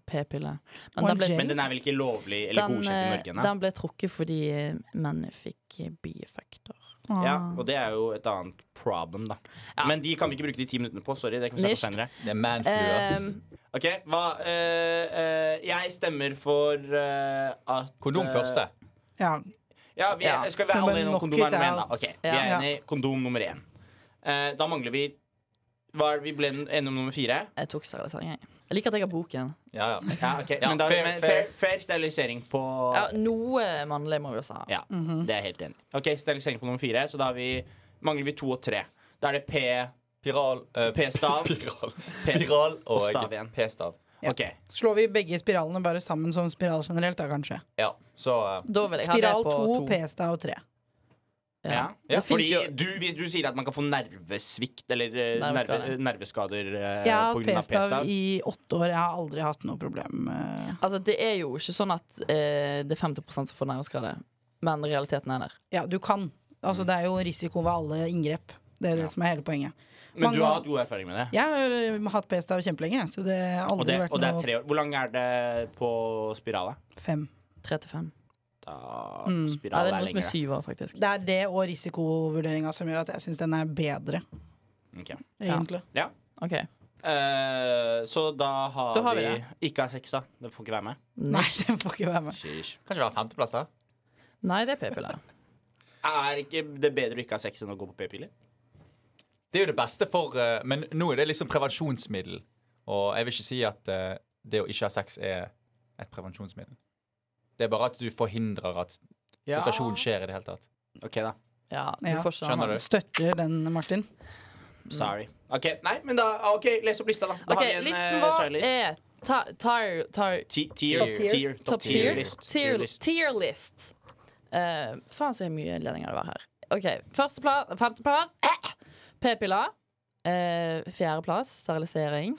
p-pille. Men den ble,
OMG.
Men den er vel ikke lovlig eller
den,
godkjent i
eh,
Norge? nei?
den ble trukket fordi eh, menn fikk eh, bieffekter.
Ah.
Ja, og det er jo et annet problem, da.
Ja.
Men de kan vi ikke bruke de ti minuttene på. Sorry, det kan vi snakke om
Nicht.
senere.
Det er manflu, ass.
Eh,
Ok, hva eh, eh, Jeg stemmer for eh, at
Kondom
eh,
først, det.
ja.
Ja, vi
Ja.
skal vi være
Men
alle enige om
knock
kondom
it
er nummer én, da.
out.
Ok, vi
Ja.
er enige. Kondom nummer én. Eh, da mangler vi Hva er det vi ble enige om nummer fire?
jeg tok sterilisering, jeg. Jeg liker at jeg har boken.
Ja, ja.
Ja, ok,
Ja,
men da,
fair,
men,
fair.
fair, fair sterilisering på
Ja, noe mannlig må vi også ha.
Ja, det er jeg helt enig i. Ok, Sterilisering på nummer fire, så da har vi, mangler vi to og tre. Da er det P
Piral eh,
P-stav.
Piral.
C-
Spiral og,
Og stav igjen.
P-stav.
Ja.
Ok,
Slår vi begge spiralene bare sammen som spiral generelt, da kanskje?
Ja, så eh,
Da vil jeg ha det
Spiral
på
to,
to.
p-stav tre.
Ja.
Ja.
Ja,
Det
Fordi
finnes jo
du, hvis du sier at man kan få nervesvikt eller eh, nerve,
Nerveskade.
nerveskader eh,
Jeg har
på
hatt
grunn av
p-stav
p-stav
i åtte år. Jeg har aldri hatt noe problem. eh.
Altså, det er jo ikke sånn at eh, det er 50 som får nerveskade, men realiteten er der.
Ja, du kan. Altså, det er jo risiko ved alle inngrep. Det er
Mm. Ja.
det som er hele poenget.
Men du
mange-
har hatt god erfaring med det.
Jeg har eh, hatt p-stav kjempelenge, så det har
Og
aldri
det,
vært
og det er
noe
tre år. Hvor lang er det på spirala?
fem.
35.
Da
Mm.
Nei,
spiral
det er
er
noe som er
lengre.
syv år, faktisk.
Det er det og risikovurderinga som gjør at jeg syns den er bedre,
Ok.
Ja.
egentlig.
Ok,
Eh, så da har,
Da har vi
vi,
det.
Ikke ha sex, da. Det får ikke være med.
Nei, den får ikke være med.
Sheesh.
kan ikke være femteplass der.
Nei, det er p-piller.
Er ikke det bedre å ikke ha sex enn å gå på p-piller?
Det er jo det beste for eh, Men nå er det liksom prevensjonsmiddel. Og jeg vil ikke si at eh, det å ikke ha sex er et prevensjonsmiddel. Det er bare at du forhindrer at situasjonen skjer i det hele tatt.
Ok, da.
Ja, du
Ja.
får sånn. ikke
Skjønner
noe
du?
annet.
Støtter den, Martin.
Sorry. Ok, Nei, men da OK, les opp lista, da. Da
Ok,
har vi en
listen
eh,
vår
stylist.
er ti- tier, tier,
Ti- Tier.
Top
tier.
tier-
top tier,
Top tier-list.
tier, tier list. Eh, faen så mye ledninger det var her. Ok, førsteplass, femteplass, p-piller. Eh, Fjerdeplass, sterilisering.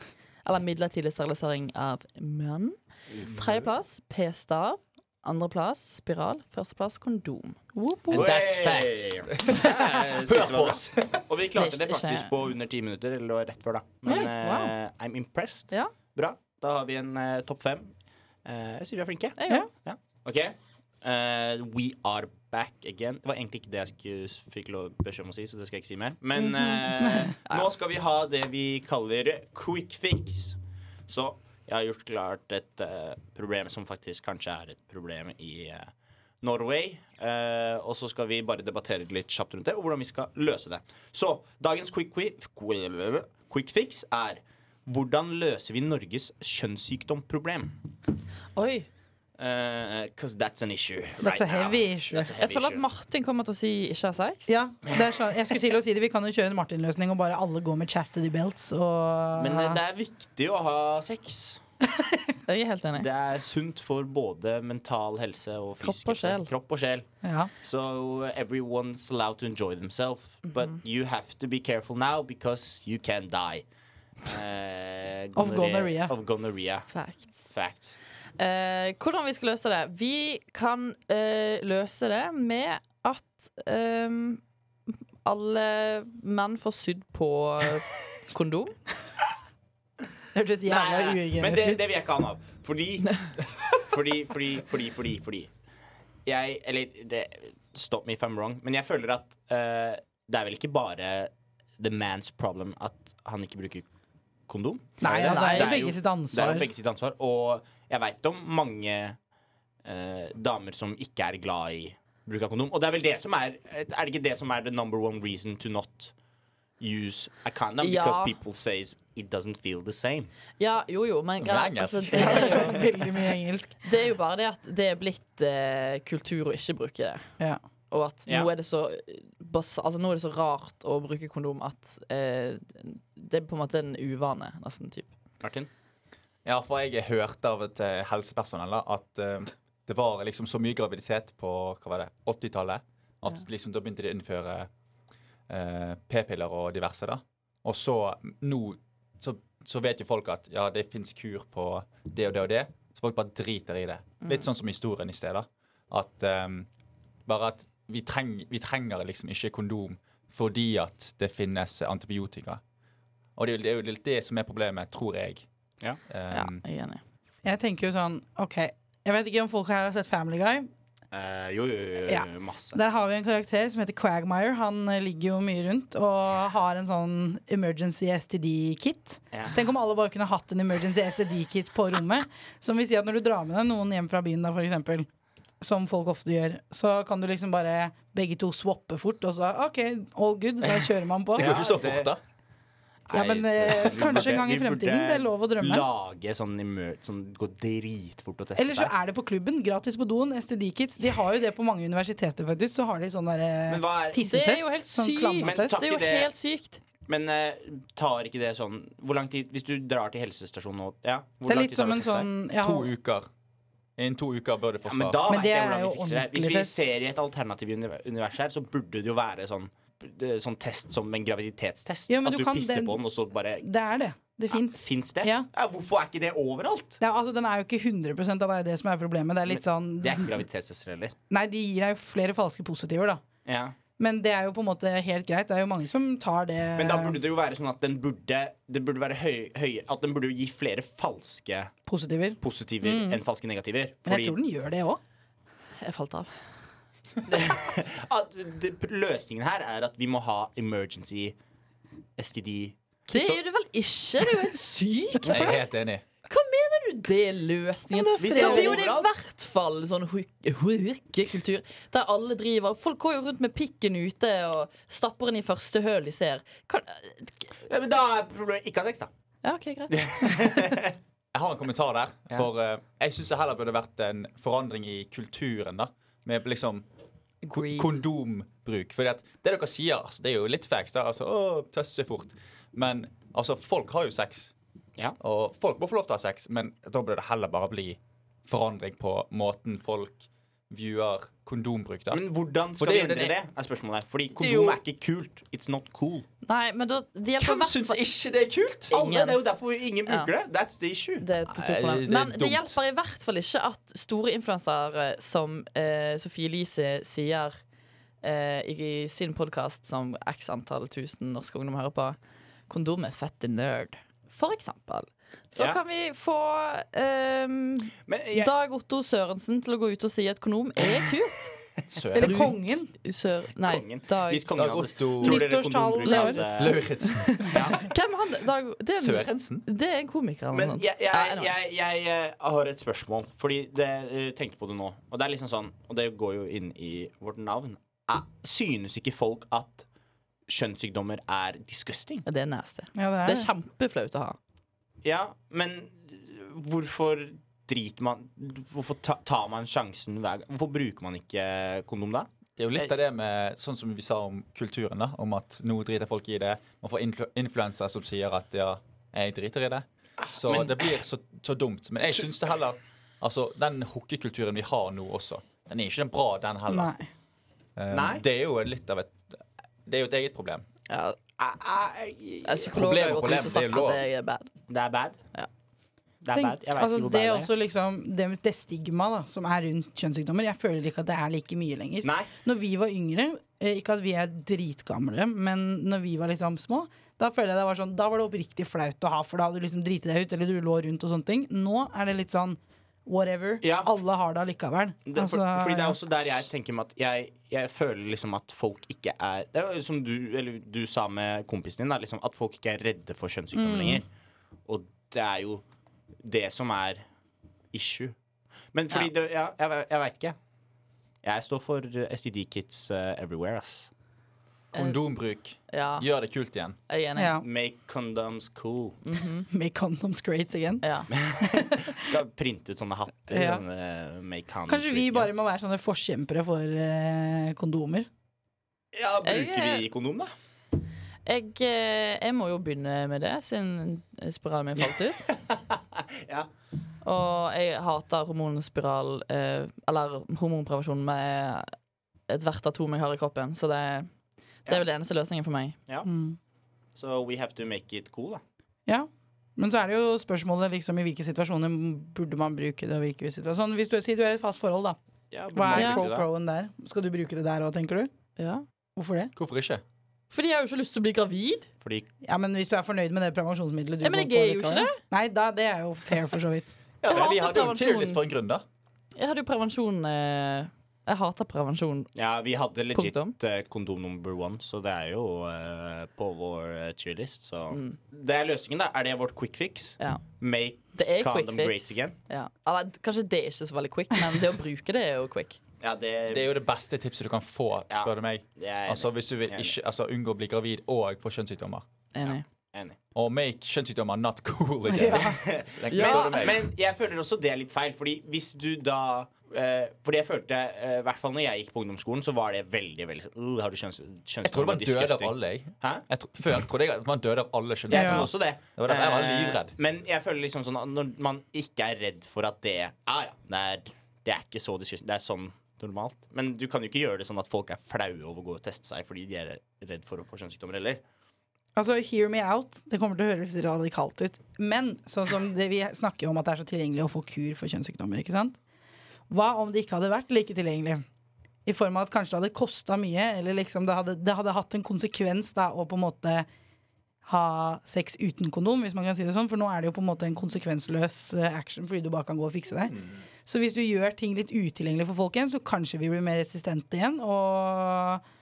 Eller midlertidig sterilisering av menn. Mhm. Tredjeplass, p-stav. Andreplass, spiral. Førsteplass, kondom.
And that's facts. Hør på oss!
Og vi klarte det
Neste
faktisk
skje-
på under ti minutter, eller det var rett før, da. Men
Oi, wow.
eh, I'm impressed.
Ja,
Bra. Da har vi en eh, topp fem. Eh, jeg syns vi er flinke.
jeg òg.
Ja. OK. Eh, we are back again. Det var egentlig ikke det jeg skulle, fikk lov beskjed om å si, så det skal jeg ikke si mer. Men eh, nå skal vi ha det vi kaller quick fix. Så jeg har gjort klart et eh, problem som faktisk kanskje er et problem i eh, Norway. Eh, og så skal vi bare debattere litt kjapt rundt det, og hvordan vi skal løse det. Så dagens quick, quick, quick fix er hvordan løser vi Norges kjønnssykdomproblem?
Oi.
Because Eh, that's an issue.
That's a heavy issue.
That's a
Jeg
heavy
føler at
issue.
Martin kommer til å si 'ikke ha sex'.
Ja, det er sånn. Jeg skulle til å si det. Vi kan jo kjøre en Martin-løsning og bare alle går med chastity belts og
Men eh, det er viktig å ha sex.
Jeg er helt enig.
Det er sunt for både mental helse og fysisk
Kropp og sjel.
helse. Kropp og sjel.
ja.
So uh, everyone's allowed to enjoy themselves, but
Mhm.
you have to be careful now because you can die. Eh,
Of gonorrhea.
Of gonorrhea.
Facts.
Fact.
Eh, hvordan vi skal løse det? Vi kan eh, løse det med at ehm, alle menn får sydd på kondom.
Det hørtes jævla
Nei, men det,
uhygienisk ut.
det vil jeg ikke ha noe av. Fordi, fordi, fordi, fordi, fordi, fordi. Jeg, eller det, stop me if I'm wrong, men jeg føler at eh, det er vel ikke bare the man's problem at han ikke bruker kondom? Er
Nei,
det det?
altså, det er jo
Det
begge
Det
sitt
er
ansvar.
jo begge sitt ansvar. Og jeg veit om mange eh, damer som ikke er glad i bruk av kondom. Og det er vel det som er Er det ikke det som er the number one reason to not use a condom?
Ja.
Because people says it doesn't feel the same.
Ja, jo, jo, men
Det er
greit,
engelsk.
altså, det, er jo,
Veldig mye engelsk.
det er jo bare det at det er blitt eh, kultur å ikke bruke det.
Ja.
Og at
Ja.
nå, er det så, bas- altså, nå er det så rart å bruke kondom at eh, det er på en måte en uvane, nesten. Typ.
Martin?
Ja, for jeg hørte av et eh, helsepersonell da, at eh, det var liksom så mye graviditet på hva var det, 80-tallet at liksom da begynte de å innføre eh, p-piller og diverse. da. Og så nå så, så vet jo folk at ja, det fins kur på det og det og det, så folk bare driter i det. Litt sånn som historien i sted. da. At eh, bare at vi, treng, vi trenger liksom ikke kondom fordi at det finnes antibiotika. Og det er jo- det er jo litt det som er problemet, tror jeg.
Ja.
Eh,
Ja, jeg er enig.
Jeg tenker jo sånn OK, jeg vet ikke om folk her har sett Family Guy.
Eh, jo, jo, jo,
Ja.
masse.
Der har vi en karakter som heter Quagmire. Han eh, ligger jo mye rundt og har en sånn emergency STD-kit.
Ja.
Tenk om alle bare kunne hatt en emergency STD-kit på rommet. Som vil si at når du drar med deg noen hjem fra byen, da, for eksempel, som folk ofte gjør, så kan du liksom bare begge to swappe fort, og så OK, all good, da kjører man på.
Det går ikke så fort,
det-
da.
Ja, men, eh,
Vi burde-
kanskje en gang i
vi burde
fremtiden, det er lov å drømme.
Lage sånn emer sånn gå dritfort og teste
Eller så er det på klubben. Gratis på doen. STD-kits. De har jo det på mange universiteter, faktisk. Så har de sånn derre
Men, hva er,
tissetest.
Det er jo helt
sånn
sykt.
klammatest.
Takk
Det er
i
jo
det.
helt sykt.
men eh, tar ikke det sånn Hvor lang tid Hvis du drar til helsestasjonen nå ja, hvor
Det er
lang
litt
tid tar
som
det
en
å teste seg?
sånn jeg
To
har-
uker. Innen to uker bør du få
Ja, men
svar.
da
Men
vet
det
jeg
er
hvordan
jo
vi fikser det. Hvis
ordentlig
vi
test.
ser i et alternativ uni- univers her, så burde det jo være sånn eh, Sånn test som en graviditetstest.
Ja,
at
men du
du
kan
pisser
den-
på den, og så bare
Det er det. Det fins.
Fins det?
Ja.
hvorfor er ikke det overalt?
Det er, altså, den er jo ikke 100 av det er det som er problemet. Det er litt sånn
Det er ikke graviditetstester heller.
Nei, de gir deg jo flere falske positiver, da.
Ja.
Men det er jo på en måte helt greit. Det er jo mange som tar det
Men da burde det jo være sånn at den burde, det burde være høy, høy, At den burde jo gi flere falske
positiver.
positiver enn falske negativer.
Men jeg tror den gjør det òg.
Jeg falt av.
at det, løsningen her er at vi må ha emergency STD.
Det gjør du vel ikke? Det er jo helt sykt!
Jeg er helt enig.
Hva mener du det er løsningen?
Ja, men det er
Da
spredning
blir jo det i
overalt.
hvert fall sånn hookekultur der alle driver. Folk går jo rundt med pikken ute og stapper den i første høl de ser. Kan,
Ja, men da er problemet ikke ha sex, da.
ja, ok, greit.
Jeg har en kommentar der. For eh, jeg syns det heller burde vært en forandring i kulturen, da. Med liksom ko-
Agreed.
kondombruk. Fordi at det dere sier, altså, det er jo litt facts. da, Altså, å, tøss er fort. Men altså, folk har jo sex.
Ja.
Og folk må få lov til å ha sex, men da burde det heller bare bli forandring på måten folk viewer kondombruk, da.
Men hvordan
For det
skal vi
er jo
endre
den-
det, er spørsmålet. Fordi
er jo-
kondom er ikke kult. It's not cool.
Nei, men da det hjelper
Hvem
hvert
syns
fall-
ikke det er kult?
Alle,
Ingen.
det er jo derfor ingen bruker det. That's the issue.
Det er et
Nei,
kulturproblem.
det er
Men det
dumt.
hjelper i hvert fall ikke at store influensere som eh, Sofie Elise sier eh, i sin podkast som x antall tusen norske ungdom hører på, 'Kondom er fette nerd', for eksempel. Så
Ja.
kan vi få ehm,
Men jeg,
Dag Otto Sørensen til å gå ut og si at kondom er kult.
Søren.
Eller kongen.
Sør... Nei,
kongen.
Dag
Hvis kongen
Dag
hadde
Otto.
Tror dere
Nyttårstalen
kondombruk hadde-
Lauritz.
Lauritzen.
Hvem han Dag Det er en,
Sørensen?
det er en komiker eller
Men
noe sånt.
jeg,
Ja,
jeg,
anyway.
jeg, jeg, eh, har et spørsmål, fordi det eh, tenkte på det nå. Og det er liksom sånn, og det går jo inn i vårt navn. Er, synes ikke folk at kjønnssykdommer er disgusting?
Ja, det er nasty.
Ja, det
Det
er
er
det.
kjempeflaut å ha.
Ja, men hvorfor driter man Hvorfor ta, tar man sjansen hver gang? Hvorfor bruker man ikke kondom da?
Det er jo litt av det med sånn som vi sa om kulturen, da, om at nå driter folk i det. Man får influ influensere som sier at ja, jeg driter i det. Så
Men-
det blir så, så dumt. Men jeg syns det heller Altså, den hookekulturen vi har nå også, den er ikke den bra, den heller.
Nei.
Eh,
Nei.
Det er jo litt av et Det er jo et eget problem.
Ja,
Eh, Det
Psykologer
Problemet-
har gått ut og
problemet, det er
sagt
lov.
at jeg er bad.
er bad.
Ja.
Det er
Tenk,
bad. Jeg vet
altså,
ikke hvor
det
bad det
er
er.
også liksom det, det stigmaet da, som er rundt kjønnssykdommer. Jeg føler ikke at det er like mye lenger.
Nei.
Når vi var yngre, eh, ikke at vi er dritgamle, men når vi var liksom små, da føler jeg det var sånn Da var det oppriktig flaut å ha, for da hadde du liksom driti deg ut, eller du lå rundt og sånne ting. Nå er det litt sånn whatever.
Ja.
Alle har det allikevel.
Det, er for,
Altså,
fordi det
ja.
er også der jeg tenker meg at jeg, jeg føler liksom at folk ikke er Det er jo som du, eller du sa med kompisen din, da, liksom, at folk ikke er redde for
Mm.
kjønnssykdommer lenger. Og det er jo det som er issue. Men fordi det Ja, jeg, jeg veit ikke. Jeg står for eh, STD Kids eh, everywhere, ass.
Kondombruk.
Eh, Ja, jeg
Gjør det kult igjen.
er
sånn,
enig.
Ja.
Make condoms cool.
Make condoms great again.
Ja.
Skal printe ut sånne hatter.
Ja.
sånne, eh, make condoms
Kanskje vi
great
bare
again.
må være sånne forkjempere for eh, kondomer.
Ja, bruker
Jeg-
vi kondom, da?
Jeg, eh, jeg må jo begynne med det, siden spiralen min falt ut.
Ja.
Og jeg hater hormonspiral eh, Eller hormonprevensjon med ethvert atom jeg har i kroppen. Så det, det er vel den eneste løsningen for meg.
Mm.
So we have to make it cool, da.
Ja. Men så er det jo spørsmålet liksom, i hvilke situasjoner burde man bruke det. Og hvilke situasjoner. Sånn, hvis du sier du er i et fast forhold, da.
Ja,
Hva er
Ja.
pro-proen der? Skal du bruke det der òg, tenker du?
Ja.
Hvorfor det?
Hvorfor ikke?
Fordi jeg har jo ikke lyst til å bli gravid.
Fordi
Ja, men Hvis du er fornøyd med det prevensjonsmiddelet du
Ja, men
går
jeg er jo
på
ikke
likevel. Nei, da, det er jo fair, for så vidt.
Ja,
Jeg
vi
hater
hadde jo
prevensjon.
Tinder-list for en grunn, da.
Jeg hadde jo prevensjon eh, Jeg hater prevensjon.
Ja, vi hadde legit
Punktum.
eh, kondom number one, så det er jo eh, på vår eh, cheerlist. Så det er løsningen, da. Er det vårt quick fix?
Mm. Ja.
Make
Det er quick
condom
fix.
great again?
Ja. Eller, kanskje det er ikke så veldig quick, men det å bruke det er jo quick.
Ja, det,
Det er jo det beste tipset du kan få,
Ja.
spør du meg.
jeg er enig.
Altså Hvis du vil
Enig.
ikke altså, unngå å bli gravid og få kjønnssykdommer.
Enig.
enig.
Og make kjønnssykdommer not cool again. Tenk, spør du meg.
Men jeg føler også det er litt feil, fordi hvis du da eh, Fordi jeg følte, eh, i hvert fall når jeg gikk på ungdomsskolen, så var det veldig veldig sånn, uh, Har du kjønns,
jeg trodde man døde av
disgusting.
alle. Jeg.
Hæ?
Jeg tro, før trodde jeg at man døde av alle
Jeg tror
kjønnssykdommer.
også det.
Det var derfor jeg var livredd.
Eh, Men jeg føler liksom sånn at når man ikke er redd for at det ah, ja, det, er, det er ikke så diskusjon. Det er sånn normalt. Men du kan jo ikke gjøre det sånn at folk er flaue over å gå og teste seg fordi de er redd for å få kjønnssykdommer heller.
Altså, Hear me out. Det kommer til å høres radikalt ut. Men sånn som det, vi snakker jo om at det er så tilgjengelig å få kur for kjønnssykdommer. ikke sant? Hva om det ikke hadde vært like tilgjengelig? I form av at kanskje det hadde kosta mye, eller liksom det hadde, det hadde hatt en konsekvens da, å på en måte ha sex uten kondom, hvis man kan si det sånn. For nå er det jo på en måte en konsekvensløs eh, action fordi du bare kan gå og fikse det.
Mm.
Så hvis du gjør ting litt utilgjengelig for folk igjen, så kanskje vi blir mer resistente igjen. og... eh,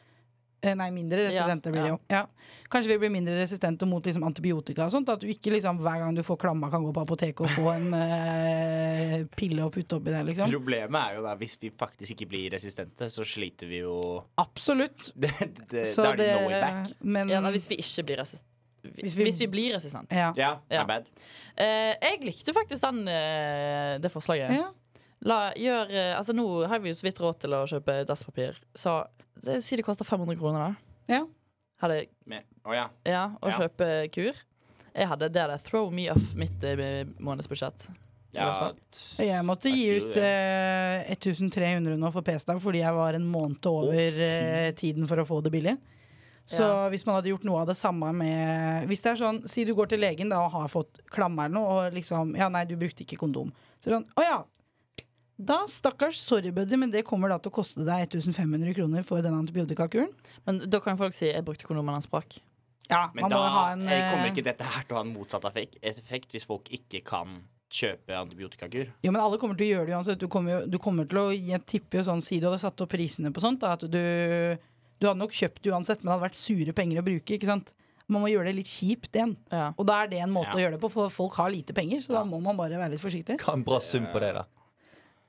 Nei, mindre resistente blir det
ja.
jo. Ja. Kanskje vi blir mindre resistente mot liksom, antibiotika og sånt. At du ikke liksom, hver gang du får klamma, kan gå på apoteket og få en eh, pille å putte oppi der, liksom.
Problemet er jo da hvis vi faktisk ikke blir resistente, så sliter vi jo
Absolutt.
det, det, det,
Så
Eh, Da er det
det-
no way back.
Men
Ja, da, hvis vi ikke blir resist... Hvis
Mm. Hvis
vi,
vi-
blir resistent.
ja.
Ja,
Ja.
my bad.
Eh, jeg likte faktisk den, eh, det forslaget.
Ja.
La, gjør, eh, altså, nå har vi jo så vidt råd til å kjøpe dasspapir, så det, si det koster 500 kroner, da.
Ja.
Hadde,
Men- Å ja.
ja, å
Ja.
kjøpe kur. Jeg hadde det der. Throw me off mitt eh, månedsbudsjett. I
ja.
hvert
Jeg måtte
Det er
gi
ikke
ut
det.
eh, 1300 nå for p-stav fordi jeg var en måned over eh, tiden for å få det billig. Så
Ja.
hvis man hadde gjort noe av det samme med Hvis det er sånn, Si du går til legen da og har fått klamme eller noe, og liksom Ja, nei, du brukte ikke kondom. Så er det sånn, å ja. Da, stakkars, sorry, buddy, men det kommer da til å koste deg 1500 kroner for den antibiotikakuren.
Men da kan folk si 'jeg brukte kondomen han sprakk'.
Ja,
Men
man
da
må ha en
eh, kommer
eh,
ikke dette her til å ha en motsatt effekt, effekt hvis folk ikke kan kjøpe antibiotikakur.
Jo, men alle kommer til å gjøre det uansett. Du kommer, jo, du kommer til å jeg tipper jo sånn, Si du hadde satt opp prisene på sånt, da, at du, du hadde nok kjøpt det uansett, men det hadde vært sure penger å bruke. ikke sant? Man må gjøre det litt kjipt igjen.
Ja.
Og da er det en måte
Ja.
å gjøre det på, for folk har lite penger. Så da
Ja.
må man bare være litt forsiktig.
Hva en bra sum på det, da.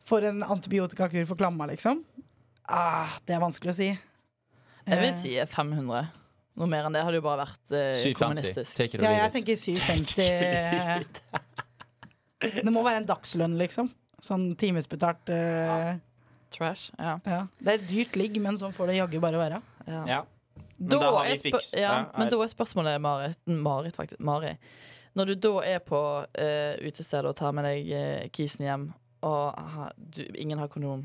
For en antibiotikakur for klamma, liksom. Ah, det er vanskelig å si.
Jeg vil
Eh,
si 500. Noe mer enn det hadde jo bare vært eh,
750.
kommunistisk.
Take it or
Ja, jeg
leave it.
tenker 750. Det må være en dagslønn, liksom. Sånn timesbetalt. eh,
Trash. Ja.
ja. Det er et dyrt ligg, men sånn får det jaggu bare være.
ja.
Ja.
Da
da har
er
vi
spør-
fiks.
Ja,
Ja,
men
er-
da er spørsmålet, Marit, Marit, faktisk, Mari Når du da er på eh, utestedet og tar med deg eh, kisen hjem, og aha, du, ingen har kondom,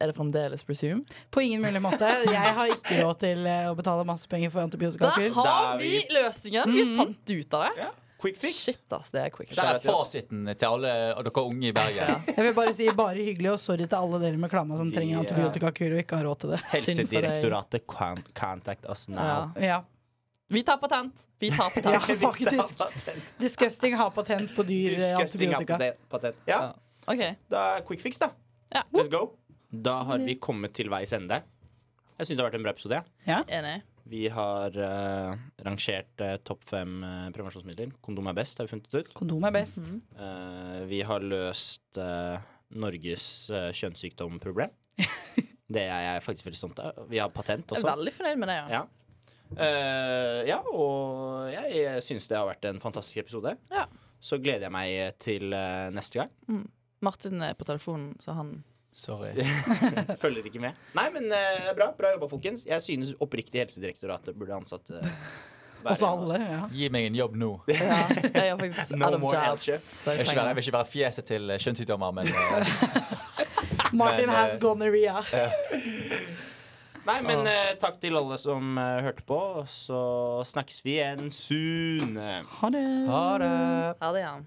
er det fremdeles presume?
På ingen mulig måte. Jeg har ikke råd til eh, å betale masse penger for
Der
antibiotikakur.
har
Da er
vi Mhm.
vi-
løsningen! Vi fant ut av det.
Ja. Quick fix.
Shit, ass. Det er quick.
Det er
Kjære til oss.
fasiten til alle av dere unge i Bergen.
Jeg vil bare si bare hyggelig, og sorry til alle dere med klamma som
Vi,
trenger
eh,
antibiotikakur og ikke har råd til det.
Synd for deg.
Helsedirektoratet can contact us
Ja.
now.
Ja,
Vi tar patent. Vi tar
ja
patent.
faktisk.
Patent.
Disgusting har patent på dyr eh,
Disgusting
antibiotika.
patent. Ja.
Og OK.
Da er quick fix, da.
Ja.
Let's go. Da har vi kommet til veis ende. Jeg syns det har vært en bra episode. jeg.
Enig.
Vi har eh, rangert eh, topp fem eh, prevensjonsmidler. Kondom er best, har vi funnet ut.
Kondom er best.
Eh, vi har løst eh, Norges eh, kjønnssykdomproblem. det er jeg faktisk veldig stolt av. Vi har patent
Jeg er
også.
veldig fornøyd med det, ja.
Ja. Eh, ja, og jeg, jeg syns det har vært en fantastisk episode.
Ja.
Så gleder jeg meg til eh, neste gang.
Martin er på telefonen, så han
Sorry.
Følger ikke med. Nei, men eh, bra. Bra jobba, folkens. Jeg synes oppriktig Helsedirektoratet burde ansatt eh, hver
Også
en av oss.
alle. Ja.
Gi meg en jobb nå. Jeg
Ja, jeg gjør faktisk
No
out of
more
jobs.
health
så
vil
jeg
ikke være, jeg
trenger
vil ikke være fjeset til eh, kjønnssykdommer, men eh,
Martin
Men,
has
eh,
gonorrhea.
Nei, men eh, takk til alle som eh, hørte på. og Så snakkes vi igjen soon.
Ha det.
ha det.
Ha det, ja.